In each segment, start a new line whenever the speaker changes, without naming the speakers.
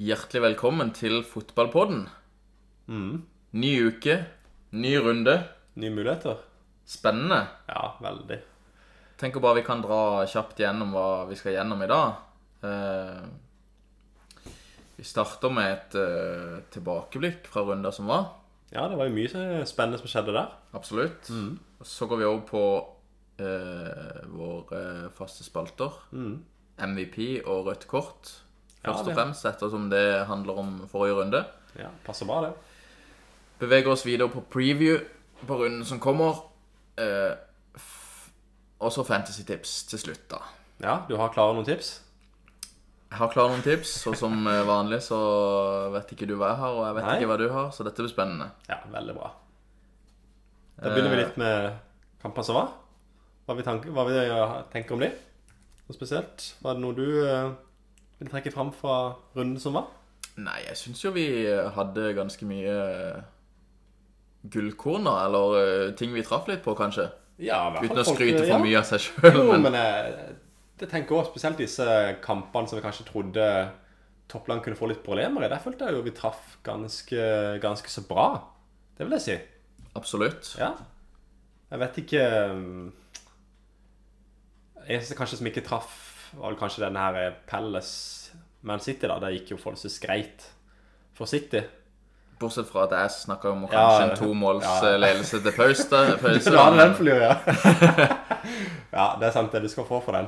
Hjertelig velkommen til fotballpodden.
Mm.
Ny uke, ny runde.
Nye muligheter?
Spennende.
Ja, veldig.
Tenker bare vi kan dra kjapt gjennom hva vi skal gjennom i dag. Eh, vi starter med et eh, tilbakeblikk fra runder som var.
Ja, det var jo mye så spennende som skjedde der.
Absolutt.
Mm.
Og Så går vi over på eh, våre faste spalter.
Mm.
MVP og rødt kort.
Ja,
Først
det-
og fremst, ettersom det handler om forrige runde.
Ja, Passer bra, det.
beveger oss videre på preview på runden som kommer. Eh, f- og så fantasy-tips til slutt, da.
Ja, Du har klare noen tips?
Jeg har klar noen tips, og som eh, vanlig så vet ikke du hva jeg har, og jeg vet
Nei.
ikke hva du har, så dette blir spennende.
Ja, veldig bra. Da begynner vi litt med kamper som var. Hva vi, tanker, hva vi eh, tenker om de? Noe spesielt? Var det noe du eh, vil trekke fram fra runden som var?
Nei, jeg syns jo vi eh, hadde ganske mye eh, gullkorn, da, eller eh, ting vi traff litt på, kanskje.
Ja, i hvert
Uten å
folk- eh,
skryte
ja.
for mye av seg sjøl,
Jo,
men
men eh, det tenker jeg også spesielt disse kampene som vi kanskje trodde toppland kunne få litt problemer i. Der følte jeg jo vi traff ganske, ganske så bra. Det vil jeg si.
absolutt.
Ja. Jeg vet ikke eh, Eneste kanskje som ikke traff, var vel kanskje denne her Palace Man City, da. Der gikk jo forholdsvis greit for City.
Bortsett fra at jeg snakka om
Ja,
kanskje en
ja.
tomålsledelse til pause. pause
Du hadde den for lur, ja. ja, det er sant. det Du skal få for den.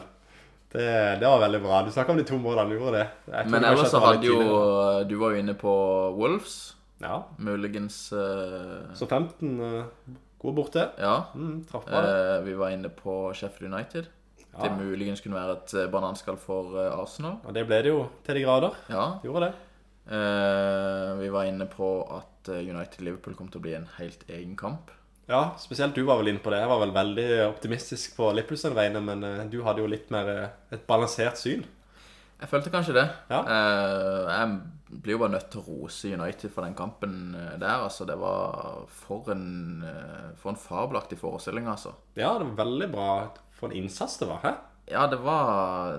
Det, det var veldig bra. Du snakka om de to målene. Du gjorde det. Jeg tror
Men
kanskje
ellers
at
så
det var
hadde
litt
jo
tidligere.
Du var jo inne på Wolves.
Ja.
Muligens eh,
Så 15 uh, gode borte.
Ja.
Mm, Traff bra, det.
Eh, vi var inne på Sheffield United. Det
Ja.
muligens kunne være et eh, bananskall for eh, Arsenal.
Og det ble det jo til de grader.
Ja.
Gjorde det.
Eh, vi var inne på at eh, United-Liverpool kom til å bli en helt egen kamp.
Ja, spesielt du var vel inne på det. Jeg var vel veldig optimistisk på Lippels sine vegne, men eh, du hadde jo litt mer eh, et balansert syn.
Jeg følte kanskje det.
Ja.
Eh, jeg blir jo bare nødt til å rose United for den kampen eh, der. Altså, det var for en, eh, for en fabelaktig forestilling, altså.
Ja, det var veldig bra for en innsats det var. Hæ?
Ja, det var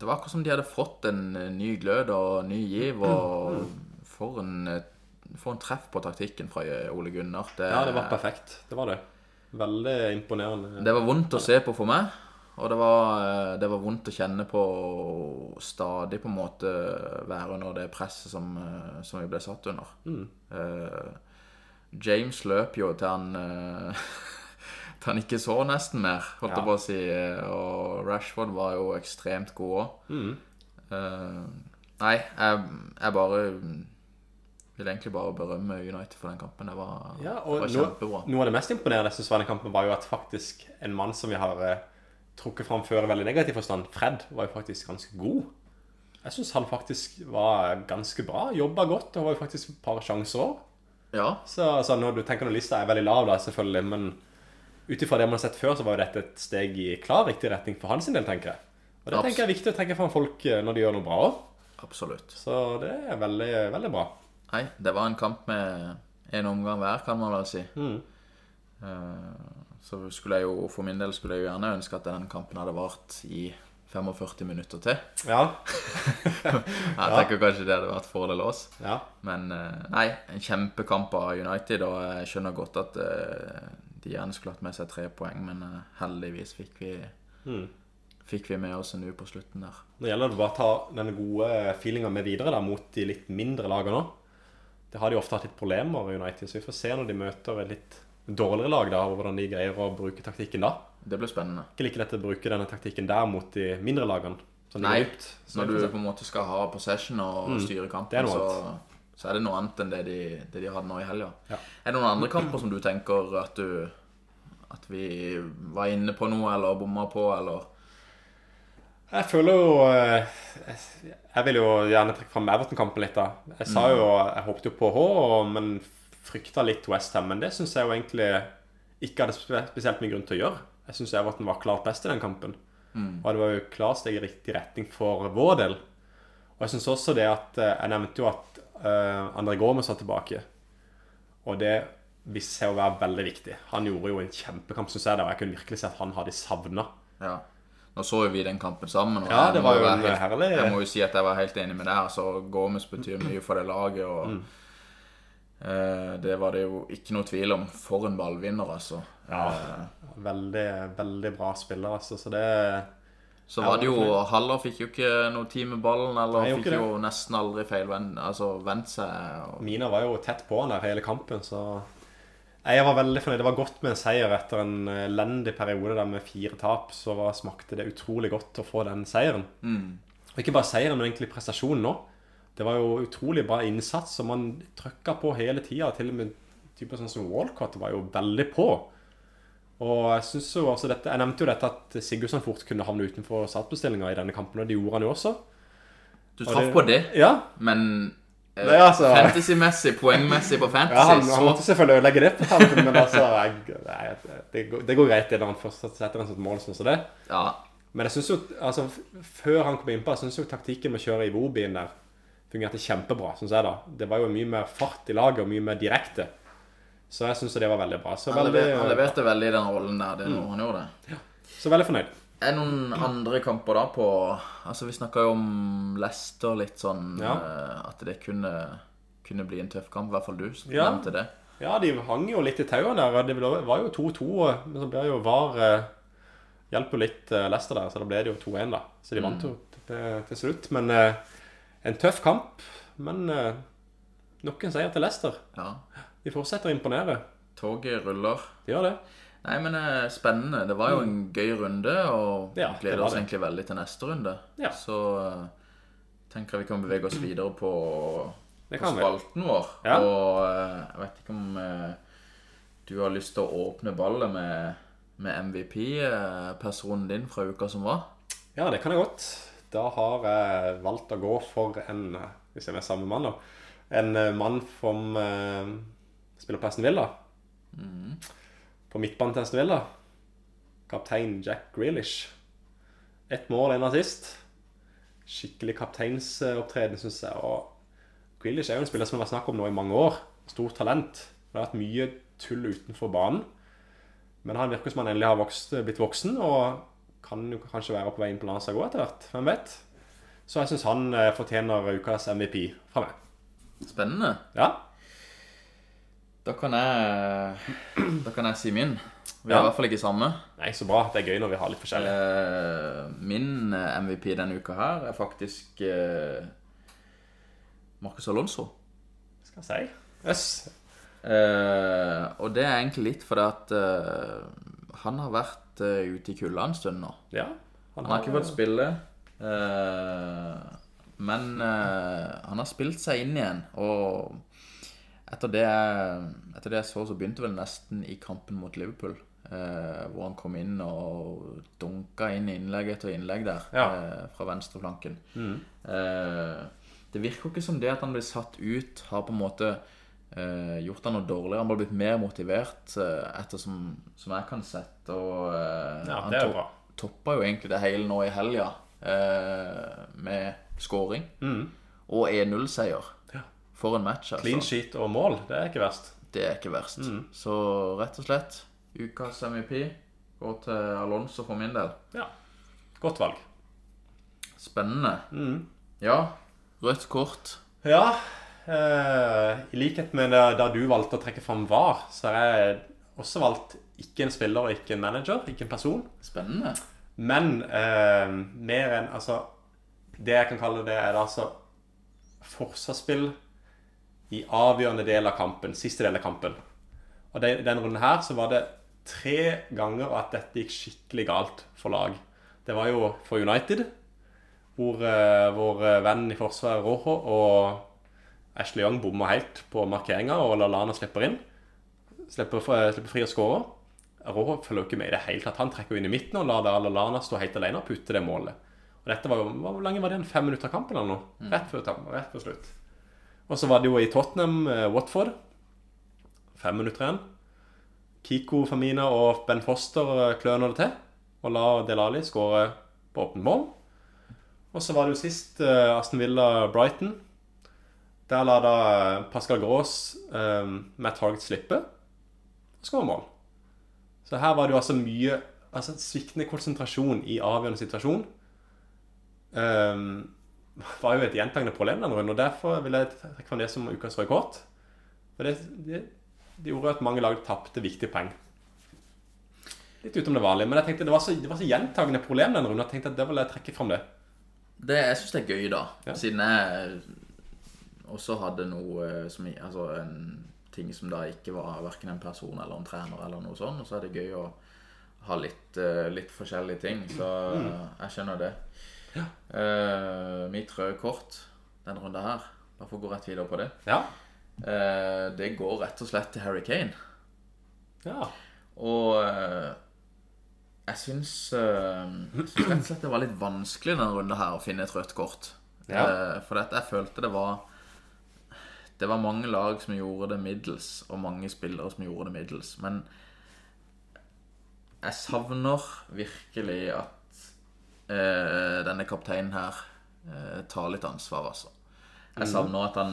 Det var akkurat som de hadde fått en eh, ny glød og ny giv. Og for en, eh, for en treff på taktikken fra Ole Gunnar. Det,
Ja, det var perfekt. Det var det. Veldig imponerende.
det var vondt å se på for meg. Og det var, eh, det var vondt å kjenne på å stadig på en måte være under det presset som, som vi ble satt under.
Mm.
Eh, James løp jo til han eh, Til han ikke så nesten mer, holdt jeg
Ja.
på å si. eh, Og Rashford var jo ekstremt god òg.
Mm.
nei, jeg, jeg bare vil egentlig bare berømme United for den kampen. Det var,
Ja,
det
og
var
noe,
kjempebra.
noe av det mest imponerende jeg synes var i den kampen, var jo at faktisk en mann som vi har eh, trukket fram før i veldig negativ forstand, Fred, var jo faktisk ganske god. Jeg syns han faktisk var ganske bra. Jobba godt og var jo faktisk et par sjanser òg.
Ja,
Så altså, når du tenker når lista er veldig lav, da, selvfølgelig, men ut ifra det man har sett før, så var jo dette et steg i klar riktig retning for hans del, tenker jeg. Og det
Abs-
tenker jeg er viktig å trekke fram folk eh, når de gjør noe bra òg.
absolutt.
Så det er veldig, veldig bra.
Nei, det var en kamp med en omgang hver, kan man vel si. Eh, Så skulle jeg jo, for min del skulle jeg jo gjerne ønske at den kampen hadde vart i 45 minutter til.
Ja.
Jeg tenker kanskje det hadde vært fordel oss.
ja.
Men eh, nei, en kjempekamp av United, og jeg skjønner godt at eh, de gjerne skulle hatt med seg tre poeng, men eh, heldigvis fikk vi, fikk vi med oss en U på slutten der.
Nå gjelder det bare å ta den gode feelinga med videre da, mot de litt mindre lagene nå. Det har de ofte hatt litt problemer med United, så vi får se når de møter et litt dårligere lag, da, og hvordan de greier å bruke taktikken da.
Det ble spennende.
Ikke like lett å bruke denne taktikken der mot de mindre lagene. som
Nei,
ligger dypt. Så
når
vi
du
får se. Mm.
på en måte skal ha possession og styre
det er
kampen,
noe
så, så er det noe annet enn det de, det de hadde nå i helga.
Ja.
Er det noen andre kamper som du tenker at du At vi var inne på noe, eller bomma på, eller
Jeg føler jo eh, Jeg jeg vil jo gjerne trekke fram Everton-kampen litt, da. Jeg sa jo Jeg håpet jo på H, og- men frykta litt Westham. Men det syns jeg jo egentlig ikke hadde spe- spesielt mye grunn til å gjøre. Jeg syns Everton var klart best i den kampen. Og det var jo klart steg i riktig retning for vår del. Og jeg syns også det at eh, Jeg nevnte jo at eh, André Gormes var tilbake. Og det viste seg å være veldig viktig. Han gjorde jo en kjempekamp, syns jeg. da, Og jeg kunne virkelig se at han hadde savna.
Ja. Nå så jo vi den kampen sammen. Og
Ja,
jeg
det
må
var jo
være helt-
en herlig-
Jeg må jo si at jeg var helt enig med deg. Altså, Gomes betyr mye for det laget. og
Mm.
eh, Det var det jo ikke noe tvil om. For en ballvinner, altså. Eh,
Veldig, veldig bra spiller, altså. Så det
Så
Ja,
var det jo Haller fikk jo ikke noe tid med ballen, eller
Nei, gjorde
fikk
ikke
jo nesten aldri feilvendt altså, vendt seg. Og,
Mina var jo tett på han der hele kampen, så Nei, Jeg var veldig fornøyd. Det var godt med en seier etter en eh, elendig periode der med fire tap. Så var, smakte det utrolig godt å få den seieren. Og ikke bare seieren, men egentlig prestasjonen nå. Det var jo utrolig bra innsats, og man trøkka på hele tida. Til og med typer sånn som Walcott var jo veldig på. Og jeg synes jo også dette, jeg nevnte jo dette at Sigurdsson fort kunne havne utenfor startbestillinga i denne kampen, og det gjorde han jo også.
du traff på det,
Ja,
men eh,
Nei, altså.
fantasy-messig, poengmessig på fantasy,
ja han, han
så
måtte selvfølgelig ødelegge det på tampen, men altså jeg, nei, det, går, det går greit det når han først setter en sånt mål, sånn som det.
Ja.
Men jeg synes jo, altså, f- før han kom innpå, jeg synes jo taktikken med å kjøre i Wobien der fungerte kjempebra, synes jeg da. Det var jo mye mer fart i laget og mye mer direkte. Så jeg synes jo det var veldig bra. Så
Han
veldig,
lever- han leverte veldig i den rollen der. Det er
Mm.
noe han gjorde.
så veldig fornøyd.
Er det noen andre kamper da på Altså Vi snakka jo om Leicester litt sånn
Ja.
eh, At det kunne, kunne bli en tøff kamp. I hvert fall du som
Ja.
nevnte det.
Ja, de hang jo litt i tauene der, og det ble- var jo 2-2, og- men så ble jo VAR eh, hjelp jo litt eh, Leicester der, så da ble det jo 2-1 da. Så de vant jo til, til slutt, men eh, en tøff kamp, men eh, nok en seier til Leicester.
Ja.
De fortsetter å imponere.
Toget ruller.
De gjør det.
Nei, men eh, spennende. Det var jo en gøy runde, og
Mm. Ja, det
gleder
var
oss
det.
egentlig veldig til neste runde.
Ja.
Så eh, tenker jeg vi kan bevege oss videre på,
Det
på
kan vi.
spalten vår.
Ja.
Og eh, jeg vet ikke om eh, du har lyst til å åpne ballet med, med MVP-personen eh, din fra uka som var.
Ja, det kan jeg godt. Da har jeg valgt å gå for en Hvis jeg er samme mann, da. En eh, mann som eh, spiller på Aston Villa. På midtbanen til Aston Villa. Kaptein Jack Grealish. Ett mål, én assist. Skikkelig kapteinsopptreden, syns jeg. Og Grealish er jo en spiller som det har vært snakk om nå i mange år. Stort talent. Det har vært mye tull utenfor banen. Men han virker som han endelig har vokst, blitt voksen, og kan jo kanskje være på vei inn på landslaget også etter hvert. Hvem vet? Så jeg syns han eh, fortjener ukas MVP fra meg.
Spennende.
Ja,
Da kan jeg Da kan jeg si min. Vi er
Ja.
i hvert fall ikke samme.
Nei, så bra. Det er gøy når vi har litt forskjellig.
Eh, Min eh, MVP denne uka her er faktisk eh, Marcus Alonso.
Skal jeg si. Jøss.
Eh, og det er egentlig litt fordi at eh, han har vært eh, ute i kulda en stund nå.
Ja.
Han har ikke fått spille, eh, men eh, han har spilt seg inn igjen. Og etter det, jeg, etter det jeg så, så begynte vel nesten i kampen mot Liverpool. eh, hvor han kom inn og dunka inn innlegg etter innlegg der,
Ja. Mm.
eh, fra venstreflanken. Eh, det virker jo ikke som det at han blir satt ut, har på en måte eh, gjort han noe dårligere. Han har blitt mer motivert, eh, ettersom som jeg kan sette. Og, eh,
Ja,
han
det er
to-
jo bra.
toppa jo egentlig det hele nå i helga eh, med scoring. Og 1-0-seier.
Ja.
For en match, altså.
Mm. Clean sheet og mål, det er ikke verst.
Det er ikke verst. Så rett og slett, ukas MVP går til Alonso for min del.
Ja. Godt valg. Mm.
Spennende. Ja, rødt kort.
Ja. Eh, I likhet med det, da du valgte å trekke fram VAR, så har jeg også valgt ikke en spiller og ikke en manager, ikke en person.
Spennende.
Men eh, mer enn Altså, det jeg kan kalle det, er det altså forsvarsspill i avgjørende del av kampen. Siste del av kampen. Og den, den runden her så var det tre ganger at dette gikk skikkelig galt for lag. Det var jo for United, hvor eh, vår venn i forsvaret, Rojo, og Ashley Young bommer helt på markeringa, og Lallana slipper inn. Slipper, fri- slipper fri og skårer. Rojo følger jo ikke med i det hele tatt. Han trekker jo inn i midten og lar da Lallana stå helt alene og putte det målet. Og dette var jo, Hvor lenge var det igjen? Fem minutter av kampen eller noe? Rett før, tam- rett før slutt. Og så var det jo i Tottenham, eh, Watford. Fem minutter igjen. Kiko Famina og Ben Foster eh, kløner det til og lar Delali skåre på åpent mål. Og så var det jo sist eh, Aston Villa Brighton. Der la da eh, Pascal Grås eh, Matt Target slippe og skåre mål. Så her var det jo altså mye altså, sviktende konsentrasjon i avgjørende situasjon ehm, var jo et gjentagende problem den runden. og Derfor vil jeg trekke fram det som ukas røde kort. For det, det, det gjorde at mange lag tapte viktige poeng. Litt utenom det vanlige. Men jeg tenkte det var så, det var så gjentagende problem den runden. Jeg tenkte at det ville jeg trekke fram det.
Det, jeg syns det er gøy, da.
Ja.
Siden jeg også hadde noe som i- Altså en ting som da ikke var verken en person eller en trener eller noe sånt. Og så er det gøy å ha litt, eh, litt forskjellige ting. Så eh, jeg skjønner det. Eh, mitt røde kort denne runden her Bare for å gå rett videre på det.
Ja.
Eh, det går rett og slett til Harry Kane.
ja.
Og eh, jeg syns eh, jeg syns rett og slett det var litt vanskelig denne runden her å finne et rødt kort.
Ja.
Eh, for dette, jeg følte det var Det var mange lag som gjorde det middels, og mange spillere som gjorde det middels. Men jeg savner virkelig at eh, denne kapteinen her eh, tar litt ansvar, altså. Jeg savner at han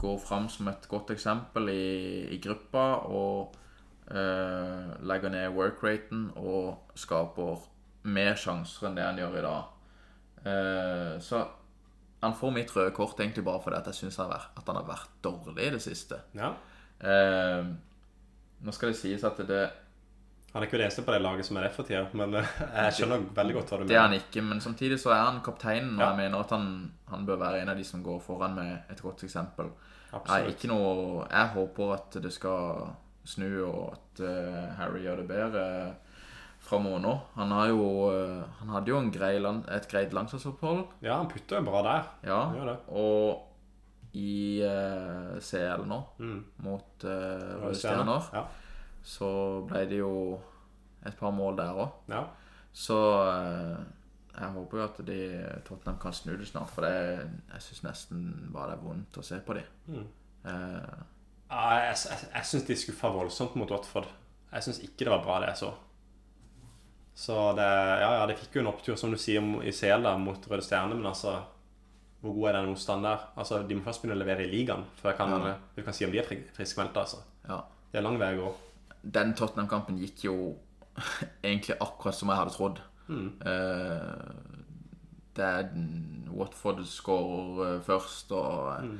går fram som et godt eksempel i, i gruppa og eh, legger ned workraten og skaper mer sjanser enn det han gjør i dag. Eh, så han får mitt røde kort egentlig bare fordi at jeg syns han, har vært- at han har vært dårlig i det siste.
ja.
Eh, nå skal det sies at det,
Han er ikke den eneste på det laget som er det for tida, men eh, jeg skjønner veldig godt hva du
det er
mener.
han ikke, men samtidig så er han kapteinen, og
Ja.
jeg mener at han, han bør være en av de som går foran med et godt eksempel. Nei,
Absolutt.
ikke noe Jeg håper at det skal snu, og at eh, Harry gjør det bedre framover nå. Han, har jo, eh, han hadde jo en grei land, et greit landslagsopphold,
Ja, han putter jo bra der.
ja.
Han gjør det.
Og i eh, CL nå,
Mm.
mot uh, Røde Stjerner,
Ja.
så ble det jo et par mål der òg.
ja.
Så eh, jeg håper jo at de, Tottenham kan snu det snart, for det, jeg syns nesten bare det er vondt å se på Eh, dem.
Mm. Ja, Jeg, jeg, jeg syns de skuffa voldsomt mot Watford. Jeg syns ikke det var bra, det jeg så. Så det, ja, ja, de fikk jo en opptur, som du sier, mo- i CL da, mot Røde Stjerne, men altså Hvor god er den motstanden der? Altså, De må først begynne å levere i ligaen før jeg kan, vi kan si om de er fri- friskmeldte. altså.
Ja.
Det er lang vei å gå.
den Tottenham-kampen gikk jo egentlig akkurat som jeg hadde trodd. Eh, det er den- Watford skårer eh, først, og,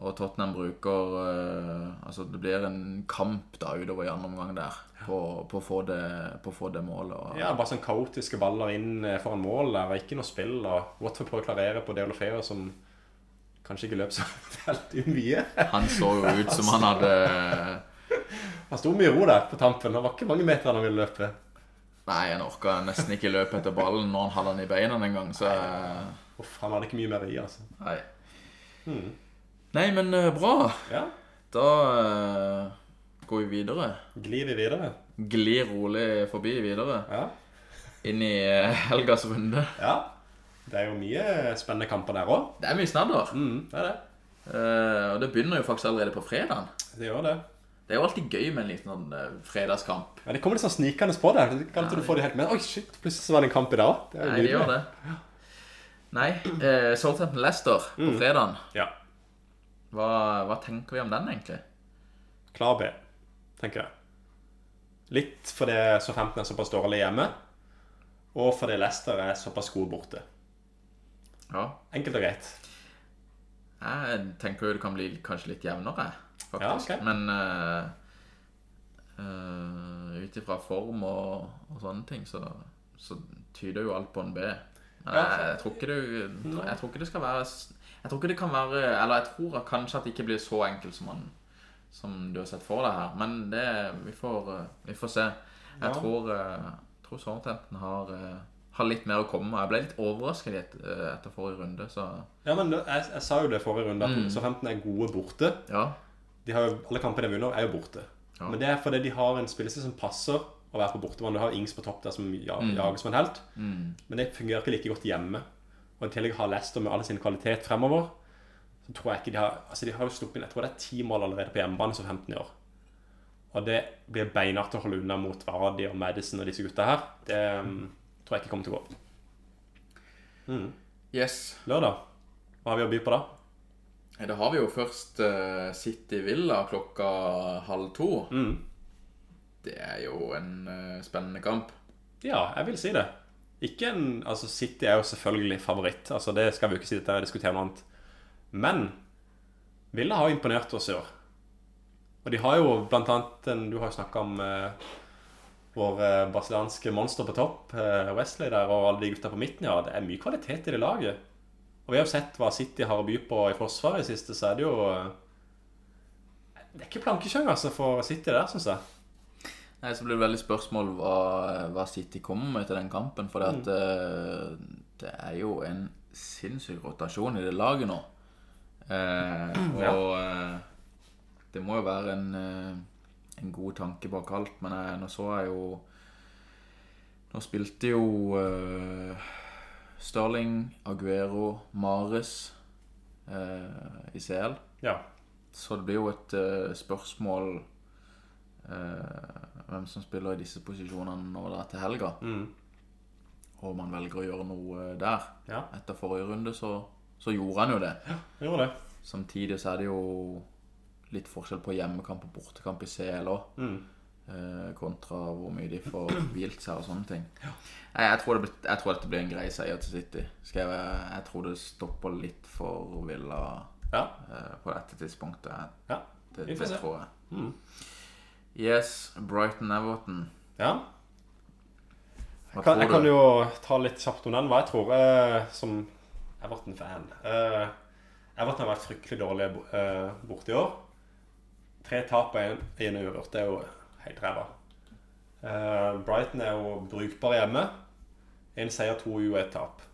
og Tottenham bruker eh, Altså, det blir en kamp da utover i andre omgang der på, på, å få det, på å få det målet. Og,
Ja, Bare sånn kaotiske baller inn eh, foran mål der, og ikke noe spill. og Watford prøver å klarere på Deolo Feo, som kanskje ikke løp så veldig mye.
Han så jo ut som han hadde
Han sto mye i ro der på tampen. Det var ikke mange meter han ville løpe.
Nei, han orka nesten ikke løpe etter ballen når han hadde den i beina den gang, så eh,
Uff, han hadde ikke mye mer i, altså.
Nei. Nei, men eh, bra.
Ja,
Da eh, går vi videre.
glir vi videre.
Glir rolig forbi videre.
Ja.
Inn i eh, helgas runde.
ja. Det er jo mye spennende kamper der òg.
Det er mye snadder.
Mm, det er det.
Eh, og det begynner jo faktisk allerede på fredagen.
Det gjør det.
Det er jo alltid gøy med en liten sånn eh, fredagskamp.
Men det kommer litt sånn snikende på deg. Du kan ikke du få det helt med. Oi, shit, plutselig så var det en kamp i dag. Det er jo
Nei, det
nydelig.
gjør det. Nei, eh, Southampton Leicester på fredagen.
Ja.
Hva, hva tenker vi om den, egentlig?
Klar B, tenker jeg. Litt fordi så 15 er såpass dårlig hjemme, og fordi Leicester er såpass god borte.
Ja.
Enkelt og greit.
Jeg tenker jo det kan bli kanskje litt jevnere, faktisk.
Ja, ok.
Men uh, ut ifra form og, og sånne ting, så, så tyder jo alt på en B. Men
Ja,
jeg,
for-
jeg, tror ikke det, jeg tror ikke det skal være s- Jeg tror ikke det kan være Eller jeg tror at kanskje at det ikke blir så enkelt som, man, som du har sett for deg her. Men det Vi får, eh, vi får se. Jeg
Ja.
tror, eh, tror Southampton har, eh, har litt mer å komme med. Jeg ble litt overrasket et- eh, etter forrige runde, så
Ja, men jeg, jeg sa jo det forrige runde, at så 15 er gode borte.
ja.
de har jo, alle kampene de vinner, er jo borte.
Ja.
Men det er fordi de har en spillestil som passer å være på bortebane. Du har Ings på topp der som ja, jager som en helt.
Mm.
Men det fungerer ikke like godt hjemme. Og i tillegg har Leicester med all sin kvalitet fremover. Så tror jeg ikke de har Altså, de har jo sluppet inn Jeg tror det er ti mål allerede på hjemmebane som 15 år. Og det blir beinhardt å holde unna mot Vardi og Madison og disse gutta her. Det mm, tror jeg ikke kommer til å gå. Mm.
Yes.
Lørdag, hva har vi å by på da?
Ja, Da har vi jo først eh, City Villa klokka
Mm.
halv to. Det er jo en eh, spennende kamp.
Ja, jeg vil si det. Ikke en, altså City er jo selvfølgelig favoritt. altså Det skal vi jo ikke si, dette er å diskutere noe annet. Men Villa har imponert oss i år. Og de har jo blant annet en, Du har jo snakka om eh, vår eh, brasilianske monster på topp, eh, Wesley der, og alle de gutta på midten. Ja, det er mye kvalitet i det laget. Og vi har jo sett hva City har å by på i forsvaret i siste, så er det jo eh, Det er ikke plankekjøring altså, for City der, syns jeg.
Nei, så blir det veldig spørsmål hva, hva City kommer med til den kampen. For det, at, eh, det er jo en sinnssyk rotasjon i det laget nå. Eh, og eh, det må jo være en, eh, en god tanke bak alt. Men jeg, nå så jeg jo Nå spilte jo eh, Sterling, Aguero, Mares eh, i CL.
Ja.
Så det blir jo et eh, spørsmål eh, hvem som spiller i disse posisjonene når det er til helga.
Mm.
Og man velger å gjøre noe eh, der.
Ja.
Etter forrige runde så, så gjorde han jo det.
Gjorde det.
Samtidig så er det jo litt forskjell på hjemmekamp og bortekamp i CL òg.
Mm.
eh, Kontra hvor mye de får hvilt seg og sånne ting. Nei, jeg, tror det blir, jeg tror dette blir en grei seier til City. Skal jeg, være- jeg tror det stopper litt for Villa
Ja.
eh, på dette tidspunktet. Jeg
ja.
det,
Vi får
det
se.
tror jeg.
Mm.
Yes, Brighton-Everton.
ja.
Hva
Kan, jeg
tror
kan
du?
jo ta litt kjapt om den, hva jeg tror, eh, som Everton-fan. Eh, Everton har vært fryktelig dårlig eh, borte i år. Tre tap og en- en uavgjort, det er jo helt ræva. Eh, Brighton er jo brukbar hjemme. En seier, to u og et tap.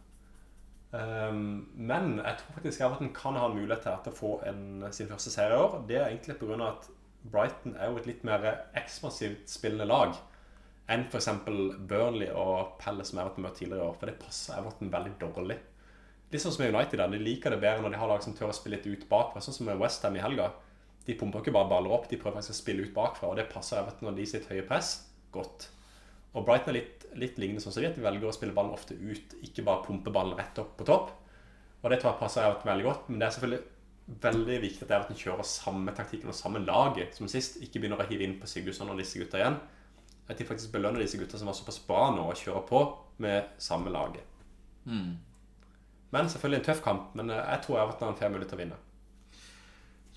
Eh, men jeg tror faktisk Everton kan ha en mulighet til å få en, sin første seier i år. Det er egentlig pga. at Brighton er jo et litt mer ekspansivt spillende lag enn f.eks. Burnley og Palace som Everton møtte tidligere i år. For det passer Everton veldig dårlig. Litt sånn som med United. da, De liker det bedre når de har lag som tør å spille litt ut bakfra. Sånn som med Westham i helga. De pumper ikke bare baller opp, de prøver faktisk å spille ut bakfra. Og det passer Everton og de sitt høye press godt. Og Brighton er litt, litt lignende sånn som de, at de velger å spille ballen ofte ut, ikke bare pumpe ballen rett opp på topp. Og det tror jeg passer Everton veldig godt. Men det er selvfølgelig veldig viktig at Everton kjører samme taktikken og samme laget som sist. Ikke begynner å hive inn på Sigurdsson og disse gutta igjen at de faktisk belønner disse gutta som var såpass bra nå, og kjører på med samme laget.
Hmm.
Men selvfølgelig en tøff kamp, men eh, jeg tror Everton har en fair mulighet til å vinne.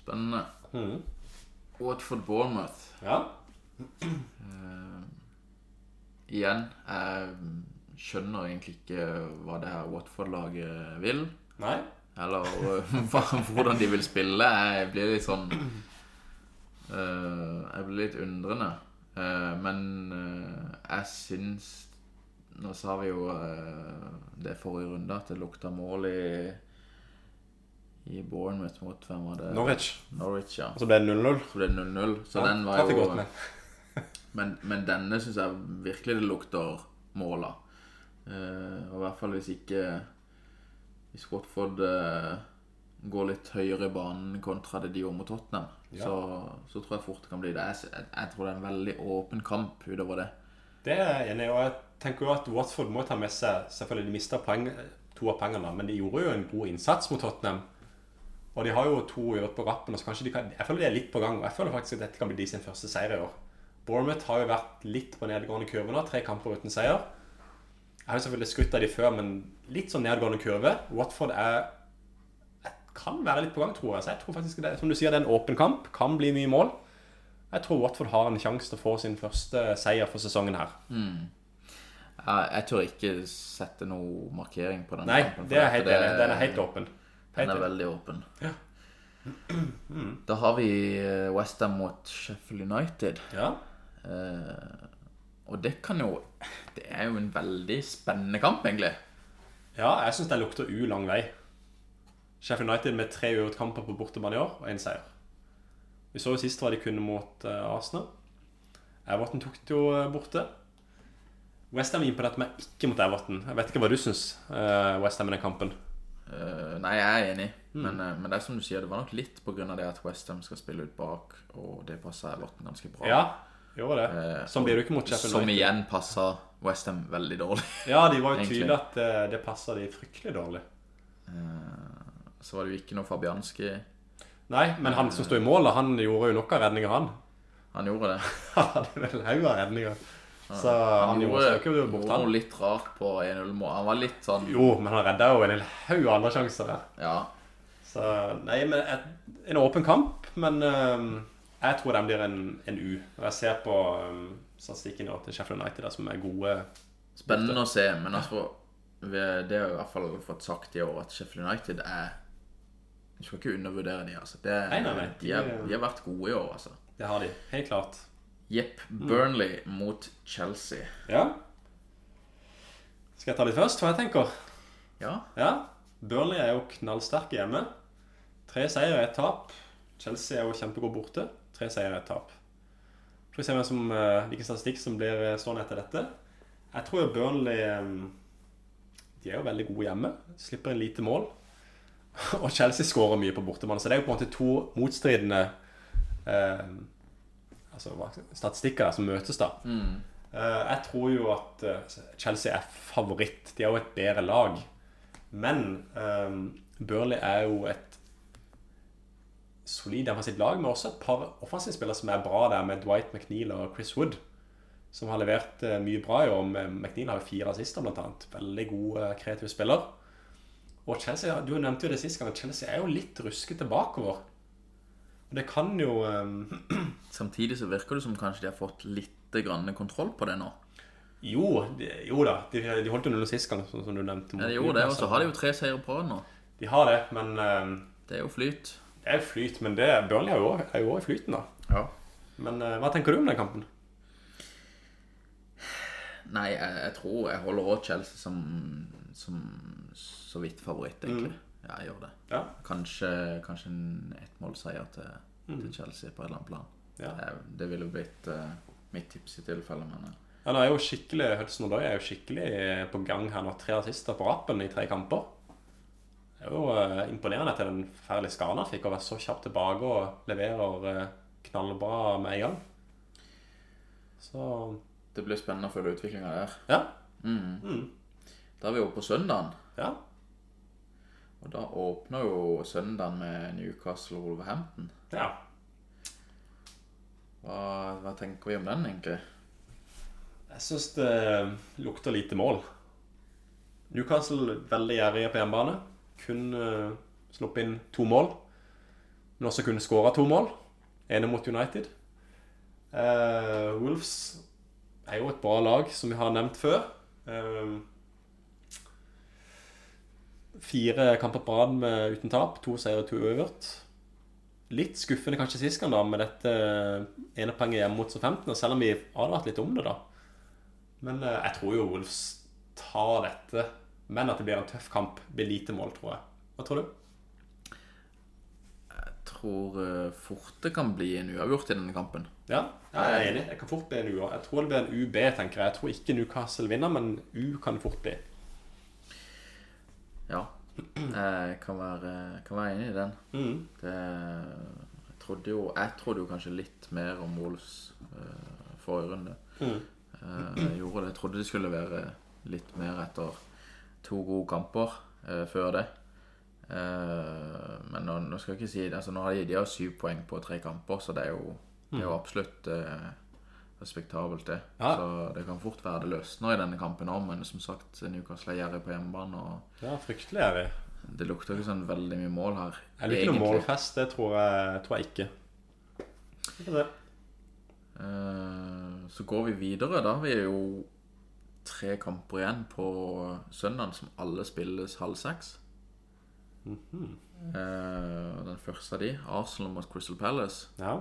Hmm.
Spennende. Watford Bournemouth.
Ja,
Igjen, jeg skjønner egentlig ikke hva det her Watford-laget vil.
nei,
Eller hva- hvordan de vil spille. Jeg blir litt sånn eh, Jeg blir litt undrende. Eh, men eh, jeg syns Nå sa vi jo eh, det forrige runde, at det lukta mål i i Bournemouth mot hvem var det?
Norwich.
Norwich, ja.
Og så ble det 0-0.
Så ble det 0-0. Så den var
Traff jeg
jo
godt med.
men, men denne syns jeg virkelig det lukter mål av. Eh, og I hvert fall hvis ikke Hvis Watford eh, går litt høyere i banen kontra det de gjorde mot Tottenham,
Ja.
så, så tror jeg fort det kan bli det. Jeg, s- jeg, jeg tror det er en veldig åpen kamp utover det.
Det er jeg enig i, og jeg tenker jo at Watford må ta med seg Selvfølgelig, de mista poeng, to av poengene, da, men de gjorde jo en god innsats mot Tottenham. Og de har jo to uavgjort på rappen, og så kanskje de kan Jeg føler de er litt på gang, og jeg føler faktisk at dette kan bli de sin første seier i år. Bournemouth har jo vært litt på nedgående kurve nå, tre kamper uten seier. Jeg har jo selvfølgelig skrytt av de før, men litt sånn nedgående kurve. Watford er kan være litt på gang, tror jeg. Så jeg tror faktisk det, som du sier, det er en åpen kamp. Kan bli mye mål. Jeg tror Watford har en sjanse til å få sin første seier for sesongen her.
Jeg, jeg tør ikke sette noe markering på den
Nei,
kampen. for
det er jeg
at
helt enig. i. Den er helt åpen.
den
Helt
er
enig.
veldig åpen. Da har vi Westham mot Sheffield United.
Ja.
Og det kan jo Det er jo en veldig spennende kamp, egentlig.
ja, jeg syns den lukter U lang vei. Sheffield United med tre uavgjortkamper på bortebane i år og én seier. Vi så jo sist hva de kunne mot eh, Arsenal. Everton tok det jo eh, borte. Westham imponerte meg ikke mot Everton. Jeg vet ikke hva du syns, uh, Westham i den kampen.
Eh, nei, jeg er enig,
Mm.
men, eh, men det er som du sier, det var nok litt pga. det at Westham skal spille ut bak, og det passer Everton ganske bra.
Ja, gjorde det. Sånn blir det jo ikke mot Sheffield
som
United.
igjen passer Westham veldig dårlig.
Ja, de var jo
egentlig.
tydelige at eh, det passer de fryktelig dårlig.
Så var det jo ikke noe Fabianski
Nei, men han som sto i målet, han gjorde jo nok av redninger, han.
Han gjorde det.
Han hadde vel en haug av redninger. Så han,
Han
gjorde søker jo bort
gjorde
han.
noe litt rart på 1-0-mål. Han var litt sånn
Jo, men han redda jo en hel haug andre sjanser. der.
Ja.
Så nei, men et, en åpen kamp. Men øhm, jeg tror den blir en, en U. Og jeg ser på øhm, statistikken nå til Sheffield United, der, som er gode
Spennende å se, men jeg tror vi- Det har jeg i hvert fall fått sagt i år, at Sheffield United er Du skal ikke undervurdere de, altså. Det,
Nei, nei, nei.
De, har, de har vært gode i år, altså.
Det har de, helt klart.
Jepp. Burnley mot Chelsea.
Ja. Skal jeg ta litt først, hva jeg tenker?
Ja.
Ja. Burnley er jo knallsterke hjemme. Tre seier og ett tap. Chelsea er jo kjempegod borte. Tre seier og ett tap. Får vi se hvem som, eh, hvilken statistikk som blir eh, stående etter dette. Jeg tror jo Burnley eh, De er jo veldig gode hjemme. Slipper en lite mål. Og Chelsea skårer mye på bortemann, så det er jo på en måte to motstridende eh, altså, hva- statistikker der som møtes, da. Eh, jeg tror jo at eh, Chelsea er favoritt. De er jo et bedre lag. Men ehm, Burnley er jo et solid defensivt lag, men også et par offensivspillere som er bra der, med Dwight McNeil og Chris Wood, som har levert eh, mye bra i år. Men McNeil har jo fire assister, blant annet. Veldig god, eh, kreativ spiller. Og Chelsea, du nevnte jo det sist gang, at Chelsea er jo litt ruskete bakover. Og det kan jo ehm,
Samtidig så virker det som kanskje de har fått litt grann kontroll på det nå.
Jo, de, jo da, de, de holdt jo null sist gang, sånn som du nevnte. mot
Ja, de gjorde det, og så
Newcastle.
har de jo tre seire på rad nå.
De har det, men ehm,
Det er jo flyt.
Det er jo flyt, men det, Burnley er jo også- er jo også i flyten, da.
Ja.
Men eh, hva tenker du om den kampen?
Nei, jeg, jeg tror jeg holder òg Chelsea som, som så vidt favoritt, egentlig. Ja, jeg gjør det.
Ja.
Kanskje, kanskje en ettmålseier til, eh, til Chelsea på et eller annet plan.
Ja.
Det, det ville blitt eh, mitt tips i tilfelle, men eh,
Han er jo skikkelig, Hudson Odoi er jo skikkelig eh, på gang her nå. Tre assister på rappen i tre kamper. Det er jo eh, imponerende til den forferdelige skaden han fikk, å være så kjapt tilbake og leverer eh, knallbra med en gang. Så
det blir spennende å følge utviklinga der. Mm.
ja.
Da er vi jo på søndagen,
ja.
og da åpner jo søndagen med Newcastle og Wolverhampton.
Ja.
Hva, hva tenker vi om den, egentlig?
Jeg syns det eh, lukter lite mål. Newcastle veldig gjerrige på hjemmebane. Kun eh, sluppet inn to mål. Men også kunne skåra to mål. Ene mot United. Eh, Wolves er jo et bra lag, som vi har nevnt før. Eh, fire kamper på rad med- uten tap. To seire, to uavgjort. Litt skuffende kanskje sist gang da, med dette eh, ene poenget hjemme mot 15, selv om vi advarte litt om det, da. Men eh, jeg tror jo Wolfs tar dette. Men at det blir en tøff kamp. Blir lite mål, tror jeg. Hva tror du?
Jeg tror eh, fort det kan bli en uavgjort i denne kampen.
Ja, jeg er enig. Jeg kan fort bli en U. også. Jeg tror det blir en UB, tenker jeg. Jeg tror ikke Newcastle vinner, men U kan fort bli.
Ja. Jeg kan være, kan være enig i den.
Mhm.
Det, jeg, trodde jo, jeg trodde jo kanskje litt mer om Wolves eh, forrige runde.
Mhm.
Eh, jeg gjorde det. Jeg trodde det skulle være litt mer etter to gode kamper eh, før det. Eh, men nå, nå skal jeg ikke si altså, Nå har de, de har syv poeng på tre kamper, så det er jo, det er jo absolutt eh, respektabelt, det.
Mm. Ja.
Så det kan fort være det løsner i denne kampen òg, men som sagt, Newcastle er gjerrig på hjemmebane. og
Ja, fryktelig er vi.
det lukter ikke sånn veldig mye mål her.
Jeg liker noe målfest. Det tror jeg, tror jeg ikke. Vi får se.
Eh, Så går vi videre. Da har vi jo tre kamper igjen på søndagen som alle spilles halv seks.
Mhm.
Eh, Den første av de, Arsenal mot Crystal Palace.
Ja.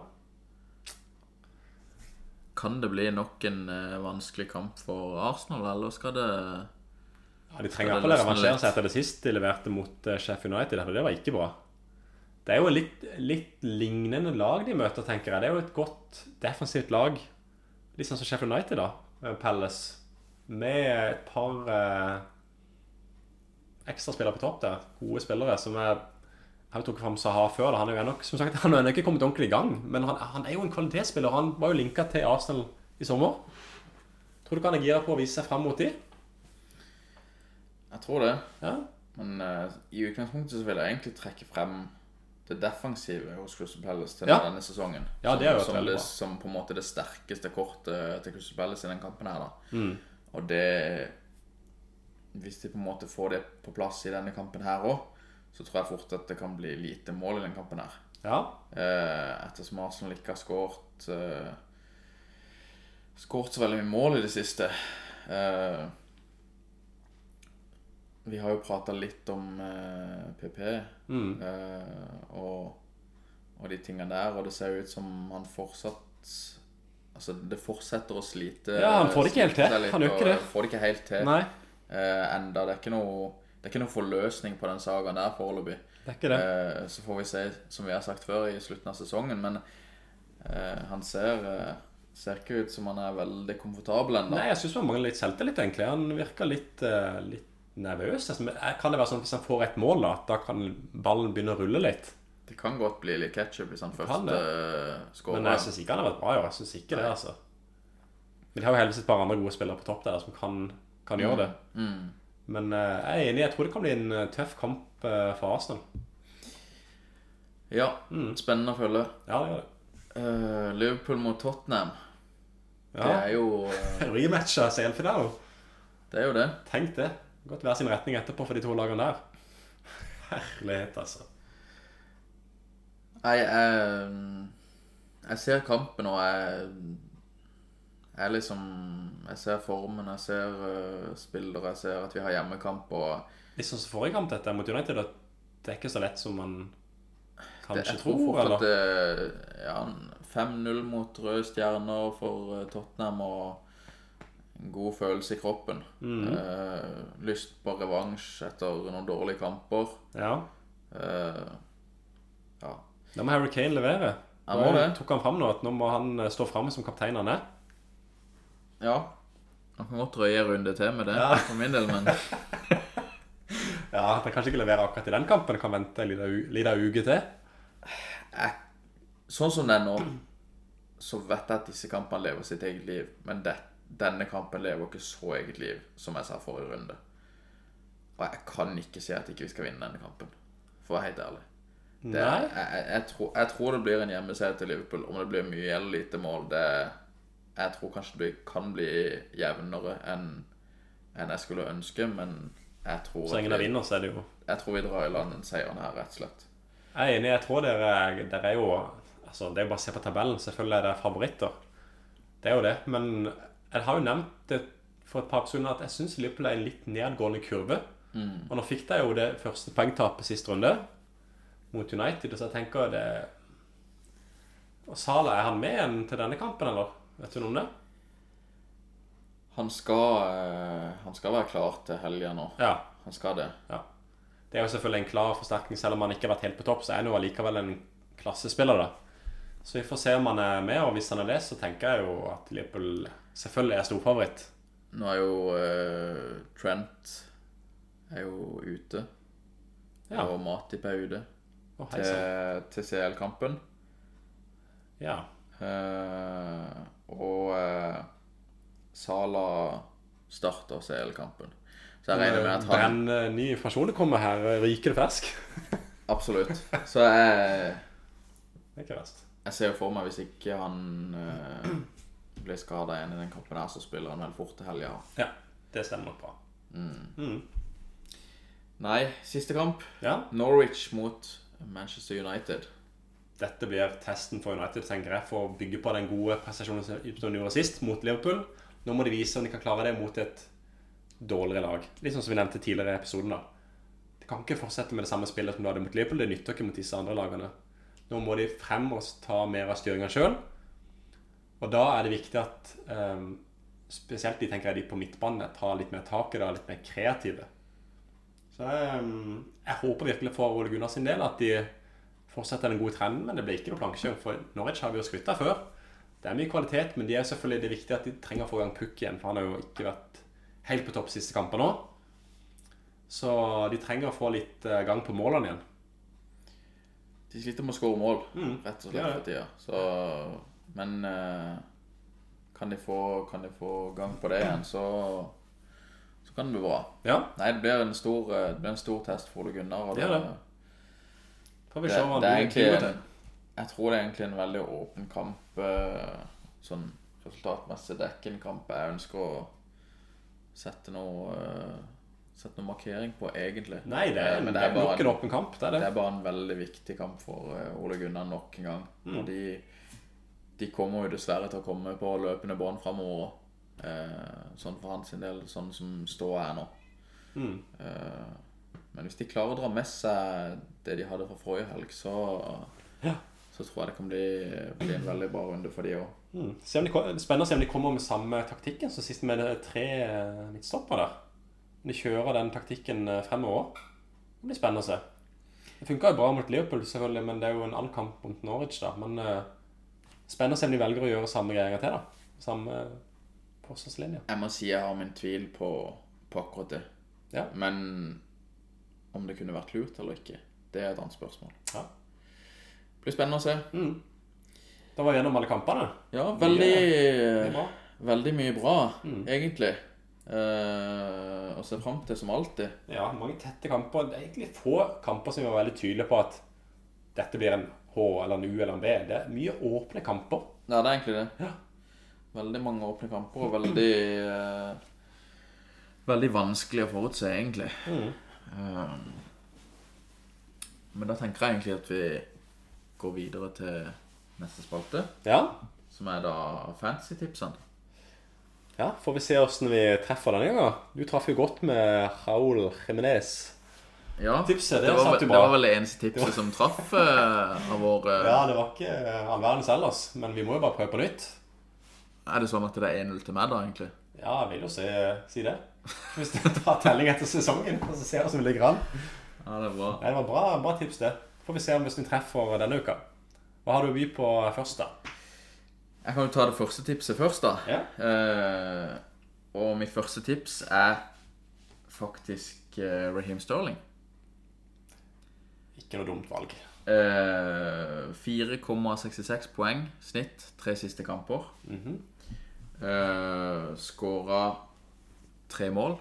Kan det bli nok en eh, vanskelig kamp for Arsenal, eller skal det
Ja, De trenger i hvert fall å revansjere seg etter det sist de leverte mot eh, Sheffield United. For det var ikke bra. Det er jo litt, litt lignende lag de møter, tenker jeg. Det er jo et godt defensivt lag. Litt sånn som Sheffield United, da. eh, Palace. Med et par eh, ekstraspillere på topp der. Gode spillere som er Jeg har jo trukket fram Saha før. Da. Han er jo ennå som sagt, han er jo ennå ikke kommet ordentlig i gang. Men han, han er jo en kvalitetsspiller. Han var jo linka til Arsenal i sommer. Tror du ikke han er gira på å vise seg fram mot de?
Jeg tror det.
Ja?
Men eh, i utgangspunktet så vil jeg egentlig trekke frem det defensive hos Crystal Palace til
Ja.
denne sesongen.
Ja, det har jo vært
som, som,
veldig
det,
bra.
som på en måte det sterkeste kortet til Crystal Palace i den kampen her. da. Og det Hvis de på en måte får det på plass i denne kampen her òg, så tror jeg fort at det kan bli lite mål i den kampen her.
Ja.
Eh, ettersom Arsenal ikke har skåret eh, Skåret så veldig mye mål i det siste. Eh, vi har jo prata litt om eh, PP
Mm.
eh, og, og de tingene der, og det ser jo ut som han fortsatt Altså, det fortsetter å slite.
Ja, han får det ikke helt til.
slite seg litt,
Han gjør ikke
og
det.
Får det ikke helt til
Nei,
eh, enda. Det er ikke noe det er ikke noe forløsning på den sagaen der foreløpig.
det er ikke det.
Eh, Så får vi se, som vi har sagt før, i slutten av sesongen. Men eh, han ser, eh, ser ikke ut som han er veldig komfortabel ennå.
Nei, jeg syns han mangler litt selvtillit, egentlig. Han virker litt, eh, litt nervøs. nesten. Men, eh, Kan det være sånn at hvis han får et mål, da, at da kan ballen begynne å rulle litt?
Det kan godt bli litt ketsjup hvis han
kan
først
det.
eh, scorer.
Men jeg syns ikke han har vært bra i år. Jeg synes ikke det, altså. Men de har jo heldigvis et par andre gode spillere på topp der som kan, kan
Mm.
gjøre det. Men eh, jeg er enig. Jeg tror det kan bli en eh, tøff kamp eh, for Arsenal. Mm.
Ja, spennende å følge.
Ja, det gjør det.
Eh, Liverpool mot Tottenham. Det
Ja.
er jo eh,
Rematcha CL-finalen.
det. Er jo det.
Tenk det. Godt hver sin retning etterpå for de to lagene der. Herlighet, altså.
Jeg, jeg, eh, jeg ser kampen, og jeg Jeg liksom Jeg ser formen, jeg ser eh, spillere, jeg ser at vi har hjemmekamp og
Litt sånn som forrige kamp dette mot United, at det er ikke så lett som man
Det,
kanskje
jeg tror
tror,
fort at
eller?
det, ja, 5-0 mot Røde Stjerner for eh, Tottenham og en god følelse i kroppen.
Mhm.
Eh, lyst på revansj etter noen dårlige kamper.
Ja.
Eh, ja.
Da må Harry Kane levere.
Han må
Nå
det.
tok han frem nå, at nå må han eh, stå frem som kaptein han er.
ja. Man kan godt røye en runde til med det,
Ja.
for min del, men
Ja, at han kanskje ikke leverer akkurat i den kampen, kan vente en liten u- liten uke til.
sånn som det er nå, så vet jeg at disse kampene lever sitt eget liv. Men det, denne kampen lever ikke så eget liv som jeg sa forrige runde. Og jeg kan ikke si at ikke vi skal vinne denne kampen, for å være helt ærlig. Det,
Nei.
jeg, jeg, jeg, tror, jeg tror det blir en hjemmeseier til Liverpool. Om det blir mye eller lite mål, det Jeg tror kanskje det kan bli jevnere enn enn jeg skulle ønske, men jeg tror,
Så lenge
at
de
vi,
vinner, så er det jo...
jeg tror vi drar i land den seieren her, rett og slett.
Jeg er enig, jeg tror dere, dere er jo altså Det er jo bare å se på tabellen. Selvfølgelig er dere favoritter. Det er jo det. Men jeg har jo nevnt det for et par episoder at jeg syns Liverpool er en litt nedgående kurve. Og nå fikk de jo det første poengtapet sist runde mot United, så jeg tenker det Og Salah, er han med igjen til denne kampen, eller? Vet du noe om det?
Han skal, eh, han skal være klar til helga nå.
Ja.
Han skal det.
ja. Det er jo selvfølgelig en klar forsterkning, selv om han ikke har vært helt på topp, så er han jo allikevel en klassespiller, da. Så vi får se om han er med, og hvis han er det, så tenker jeg jo at Liverpool selvfølgelig er storfavoritt.
Nå er jo eh, Trent er jo ute.
Ja.
Og Matip er ute
Å, hei sann.
til, til CL-kampen.
Ja.
Eh, og eh, Sala starter CL-kampen. Så jeg regner med at han
Den eh, nye informasjonen kommer her, eh, rykende fersk.
Absolutt. Så jeg,
Det er ikke verst.
jeg ser jo for meg, hvis ikke han eh, blir skada igjen i den kampen her, så spiller han vel fort til helga.
Ja, det stemmer nok bra.
Nei, siste kamp.
Ja,
Norwich mot Manchester United.
dette blir testen for United, tenker jeg, for å bygge på den gode prestasjonen som de gjorde sist, mot Liverpool. Nå må de vise om de kan klare det mot et dårligere lag. Litt sånn som vi nevnte tidligere i episoden. da. De kan ikke fortsette med det samme spillet som de hadde mot Liverpool. Det nytter ikke mot disse andre lagene. Nå må de frem og ta mer av styringa sjøl. Og da er det viktig at eh, spesielt de tenker jeg, de på midtbanen tar litt mer tak i det, er litt mer kreative. Så jeg, jeg håper virkelig for Ole Gunnar sin del at de fortsetter den gode trenden, men det blir ikke noe plankekjøring. For Norwich har vi jo skrytt av før. Det er mye kvalitet, men de er selvfølgelig det er viktig at de trenger å få i gang Pukk igjen, for han har jo ikke vært helt på topp siste kamper nå. Så de trenger å få litt eh, gang på målene igjen.
De sliter med å skåre mål,
Mm,
rett og
det
slett,
gjør
for tida. Så, men eh, kan, de få, kan de få gang på det igjen, så, så kan det bli bra.
Ja,
Nei, det blir en stor, eh, det blir en stor test for Ole Gunnar. Og
Det er det. Får vi
Det-
se hva han
det er
blir
egentlig-
god til.
Jeg tror det er egentlig en veldig åpen kamp. eh, Sånn resultatmessig Det er ikke en kamp jeg ønsker å sette noe eh, Sette noe markering på, egentlig.
Nei, det er,
Eh,
men det er
bare
nok en åpen kamp. Det er
det
det.
er bare en veldig viktig kamp for eh, Ole Gunnar nok en gang. Og de, de kommer jo dessverre til å komme på løpende bånd framover òg. Sånn for hans sin del, sånn som ståa er nå.
Mm.
Eh, Men hvis de klarer å dra med seg det de hadde fra forrige helg, så,
Ja.
så tror jeg det kan bli, bli en veldig bra runde for de òg.
Mm. Se om de, ko- spennende å se om de kommer med samme taktikken som sist med det tre eh, midtstopper der. Om de kjører den taktikken eh, fremover. Det blir spennende å se. Det funka jo bra mot Liverpool, selvfølgelig, men det er jo en annen kamp mot Norwich. da. Men eh, spennende å se om de velger å gjøre samme greia til. da. Samme eh, forsvarslinje.
Jeg må si jeg har min tvil på, på akkurat det.
Ja.
Men om det kunne vært lurt eller ikke, det er et annet spørsmål.
Ja. Mm.
Det blir spennende å se.
Da var vi gjennom alle kampene.
Ja,
Det
veldig,
er bra.
veldig mye bra,
Mm.
egentlig. Eh, å se fram til, som alltid.
Ja, mange tette kamper. Det er egentlig få kamper som vi var veldig tydelige på at dette blir en H eller en U eller en B. Det er mye åpne kamper.
Ja, det er egentlig det.
Ja.
Veldig mange åpne kamper, og veldig eh, Veldig vanskelig å forutse, egentlig.
Mm.
Eh, men da tenker jeg egentlig at vi går videre til neste spalte,
Ja,
som er da fancy-tipsene.
ja får vi se åssen vi treffer denne gangen. Du traff jo godt med Raúl Jiménez.
Ja,
Tipset, det
det, var,
satt du
det
bra.
var vel det eneste tipset som traff eh, av vår eh,
Ja, det var ikke eh, all verdens ellers, men vi må jo bare prøve på nytt.
Er det sånn at det er 1-0 til meg, da, egentlig?
Ja, jeg vil jo si, si det. Hvis du tar telling etter sesongen og så ser hvordan vi ligger an.
Ja, det er bra.
Nei, det var bra, bra tips, det. Får vi se om hvordan vi treffer denne uka. Hva har du å by på først, da?
Jeg kan jo ta det første tipset først, da.
Ja.
Eh, og mitt første tips er faktisk eh, Raheem Sterling.
Ikke noe dumt valg.
Eh, 4,66 poeng snitt tre siste kamper.
Mhm.
Eh, Skåra tre mål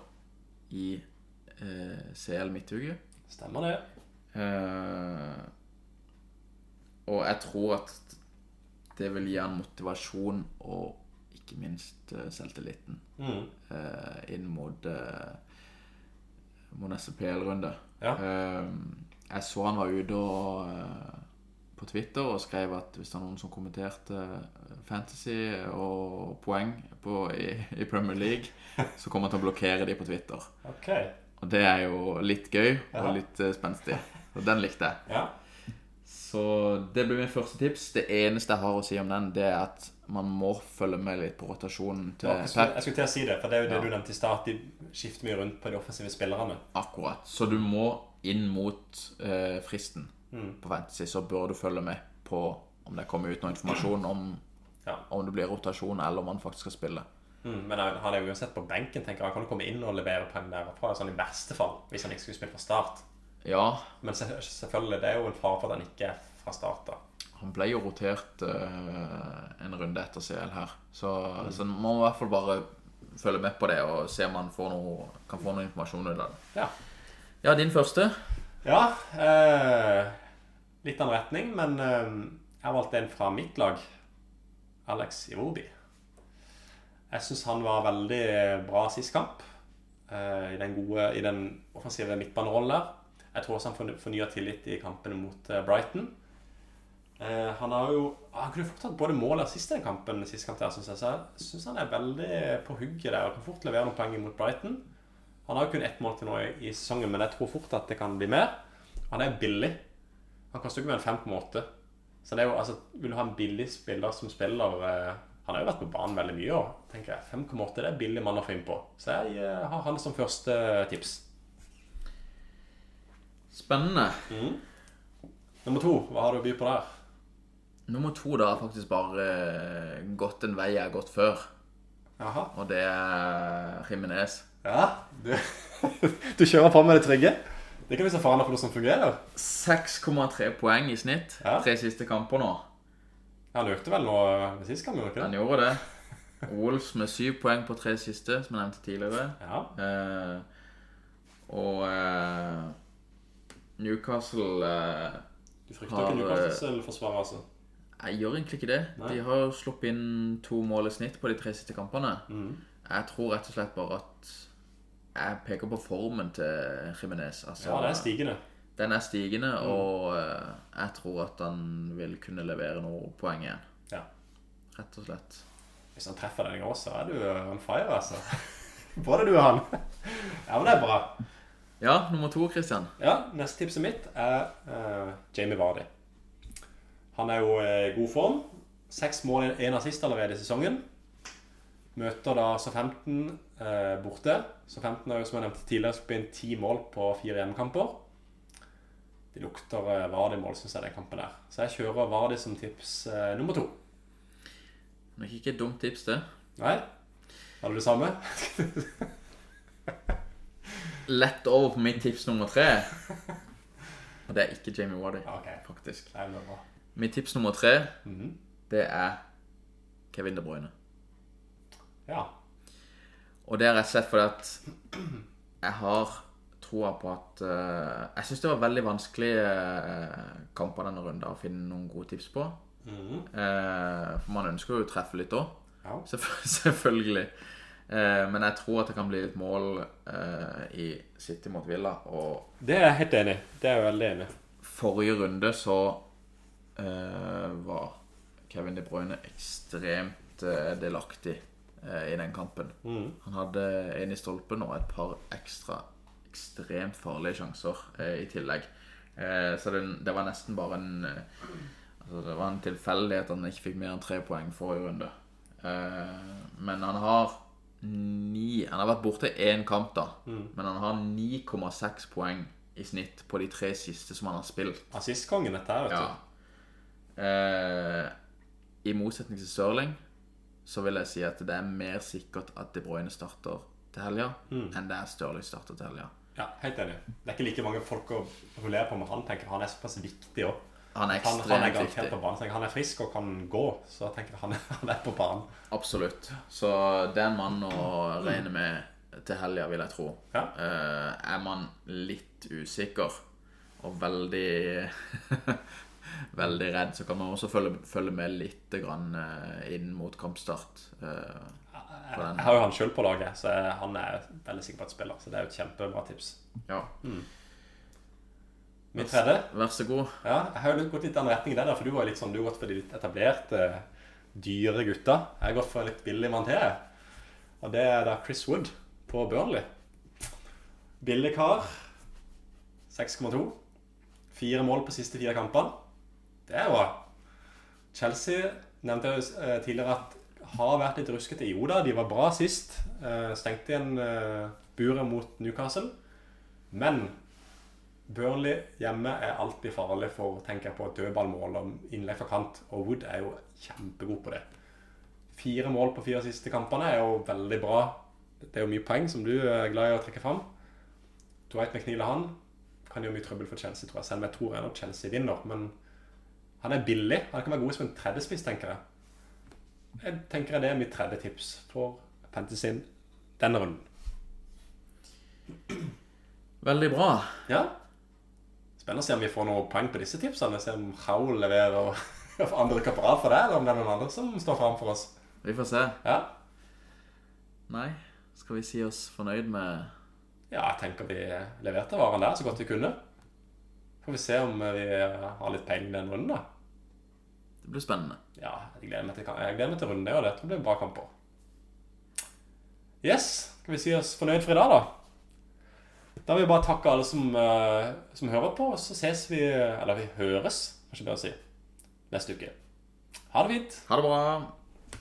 i eh, CL Midtuke.
Stemmer det.
Eh, og jeg tror at det vil gi han motivasjon og ikke minst eh, selvtilliten.
Mm.
eh, inn mot, eh, mot neste PL-runde.
Ja.
Eh, jeg så han var ute og, eh, på Twitter og skrev at hvis det var noen som kommenterte eh, fantasy og poeng på, i, i Premier League, så kom han til å blokkere de på Twitter.
Ok.
Og det er jo litt gøy
Ja.
og litt eh, spenstig. Og den likte jeg.
Ja.
Så det blir mitt første tips. Det eneste jeg har å si om den, det er at man må følge med litt på rotasjonen
Det var
til
ikke så-
Pep.
Jeg skulle til å si det, for det er jo det
Eh, Ja.
du nevnte i stad. at De skifter mye rundt på de offensive spillerne.
Akkurat. Så du må inn mot eh, fristen
Mm.
på Fantasy, så bør du følge med på om det kommer ut noe informasjon om,
Ja.
om det blir rotasjon, eller om han faktisk skal spille.
Mm. Men han han er jo uansett på benken, tenker jeg. Han kan jo komme inn og levere poeng derfra, sånn i verste fall, hvis han ikke skulle spille fra start.
Ja,
Men se- selvfølgelig, det er jo en fare for at han ikke er fra start, da.
han ble jo rotert eh, en runde etter CL her, så, så man må i hvert fall bare følge med på det og se om man får noe, kan få noe informasjon ut av det.
Ja.
Ja, din første.
Ja, eh, litt annen retning, men eh, jeg valgte en fra mitt lag. Alex Iwobi. Jeg syns han var veldig bra sist kamp. eh, I den gode, i den offensive midtbanerollen der. Jeg tror også han forny- fornya tillit i kampene mot eh, Brighton. Eh, han har jo Han kunne fort hatt både mål og assist i den kampen sist kamp der, syns jeg. Så jeg syns han er veldig på hugget der og kan fort levere noen poeng mot Brighton. Han har jo kun ett mål til nå i, i sesongen, men jeg tror fort at det kan bli mer. Han er billig. Han koster jo ikke mer enn fem på en måte. Så det er jo, altså, vil du ha en billig spiller som spiller eh, Han har jo vært på banen veldig mye i år, tenker jeg. 5,8 det er billig mann å få inn på. Så jeg eh, har han som første tips.
Spennende.
Nummer to, hva har du å by på der?
Nummer to da har faktisk bare eh, gått en vei jeg har gått før,
Jaha.
og det er Jimenez.
Ja, du, du kjører på med det trygge. Det kan vi se faen på noe som fungerer.
6,3 poeng i snitt.
Ja.
Tre siste kamper nå.
Han økte vel nå eh, sist gang, gjorde han ikke
Han
det?
gjorde det. Wolves med syv poeng på tre siste, som jeg nevnte tidligere.
Ja.
Eh, og eh, Newcastle eh,
Du frykter ikke
Har,
Newcastle-forsvaret, altså?
Jeg gjør egentlig ikke det.
Nei.
De har sluppet inn to mål i snitt på de tre siste kampene.
Mhm.
Jeg tror rett og slett bare at jeg peker på formen til Jimenez. Altså,
Ja, det er stigende.
den er stigende, og eh, jeg tror at han vil kunne levere noe poeng igjen.
Ja.
Rett og slett.
Hvis han treffer den i går, så er du eh, on fire, altså. Både du og han. Ja, men det er bra.
Ja, nummer to, Christian.
Ja, neste tipset mitt er eh, Jamie Vardy. Han er jo eh, i god form. Seks mål i en assist allerede i sesongen. Møter da Southampton eh, borte. Southampton har jo, som jeg nevnte tidligere, spilt inn ti mål på fire hjemmekamper. Det lukter eh, Vardy-mål, syns jeg, den kampen der. Så jeg kjører Vardy som tips eh, nummer to.
Nok ikke et dumt tips, det.
Nei? Har du det samme?
Lett over på mitt tips nummer tre. Og det er ikke Jamie Wardy,
Ja, OK.
faktisk.
Nei, men det er bra.
Mitt tips nummer tre,
Mhm.
det er Kevin De Bruyne.
Ja.
Og det er rett og slett fordi at jeg har troa på at eh, Jeg syns det var veldig vanskelige eh, kamper denne runden å finne noen gode tips på. Eh, for man ønsker jo å treffe litt òg.
Ja.
Selvfølgelig. Eh, men jeg tror at det kan bli litt mål eh, i City mot Villa. Og
Det er jeg helt enig i. Det er jeg veldig enig i.
forrige runde så eh, var Kevin De Bruyne ekstremt eh, delaktig eh, i den kampen. Han hadde en i stolpen og et par ekstra ekstremt farlige sjanser eh, i tillegg. Eh, så det, det var nesten bare en eh, altså Det var en tilfeldighet at han ikke fikk mer enn tre poeng forrige runde. Eh, men han har ni Han har vært borte én kamp, da. Men han har 9,6 poeng i snitt på de tre siste som han har spilt.
Assistkongen, dette her, vet
Ja. Eh, I motsetning til Stirling så vil jeg si at det er mer sikkert at De Bruyne starter til helga, enn det er Stirling starter til helga.
du. Ja, helt enig. Det er ikke like mange folk å rullere på med han, tenker jeg. Han er såpass viktig òg.
Han er
Han, han er
ekstremt
garantert
viktig.
på banen. tenker jeg. Han er frisk og kan gå, så jeg tenker han, han er på banen.
Absolutt. Så det er en mann å regne med til helga, vil jeg tro.
Ja.
Eh, er man litt usikker og veldig Veldig redd, så kan man også følge, følge med litt grann, eh, inn mot kampstart. Eh,
Jeg, jeg har jo han sjøl på laget, så jeg, han er veldig sikker på at spiller. Så det er jo et kjempebra tips.
ja.
Min tredje
Vær så god.
Ja, jeg har jo litt- gått litt i den retningen der, da, for du var litt sånn, du har gått for de litt etablerte, dyre gutta. Jeg har gått for en litt billig mann til, jeg. Og det er da Chris Wood på Burnley. Billig kar. 6,2. Fire mål på siste fire kampene. Det er bra. Chelsea nevnte jeg jo, eh, tidligere at har vært litt ruskete. Jo da, de var bra sist. Eh, Stengte igjen eh, buret mot Newcastle. Men Burnley hjemme er alltid farlig for tenker jeg på dødballmål og innlegg fra kant, og Wood er jo kjempegod på det. Fire mål på fire siste kampene er jo veldig bra. Det er jo mye poeng som du er glad i å trekke fram. Dwight McNeil og han kan gjøre mye trøbbel for Chelsea, tror jeg. Selv om jeg tror ennå Chelsea vinner, men han er billig. Han kan være god som en tredjespiss, tenker jeg. Jeg tenker det er mitt tredje tips for fantasyen denne runden.
Veldig bra.
Ja. Spennende å se om vi får noen poeng på disse tipsene. Se om Raoul leverer og og andre kapper av for det, eller om det er noen andre som står fram for oss.
Vi får se.
Ja.
Nei, skal vi si oss fornøyd med
ja, jeg tenker vi leverte varen der så godt vi kunne. Får vi se om vi har litt peiling den runden, da.
Det blir spennende.
Ja, jeg gleder meg til, jeg gleder meg til runden, og det tror jeg blir bra kamper. Yes, skal vi si oss fornøyd for i dag, da? Da vil jeg bare takke alle som, eh, som hører på, og så ses vi Eller vi høres, kanskje bedre å si, neste uke. Ha det fint.
Ha det bra.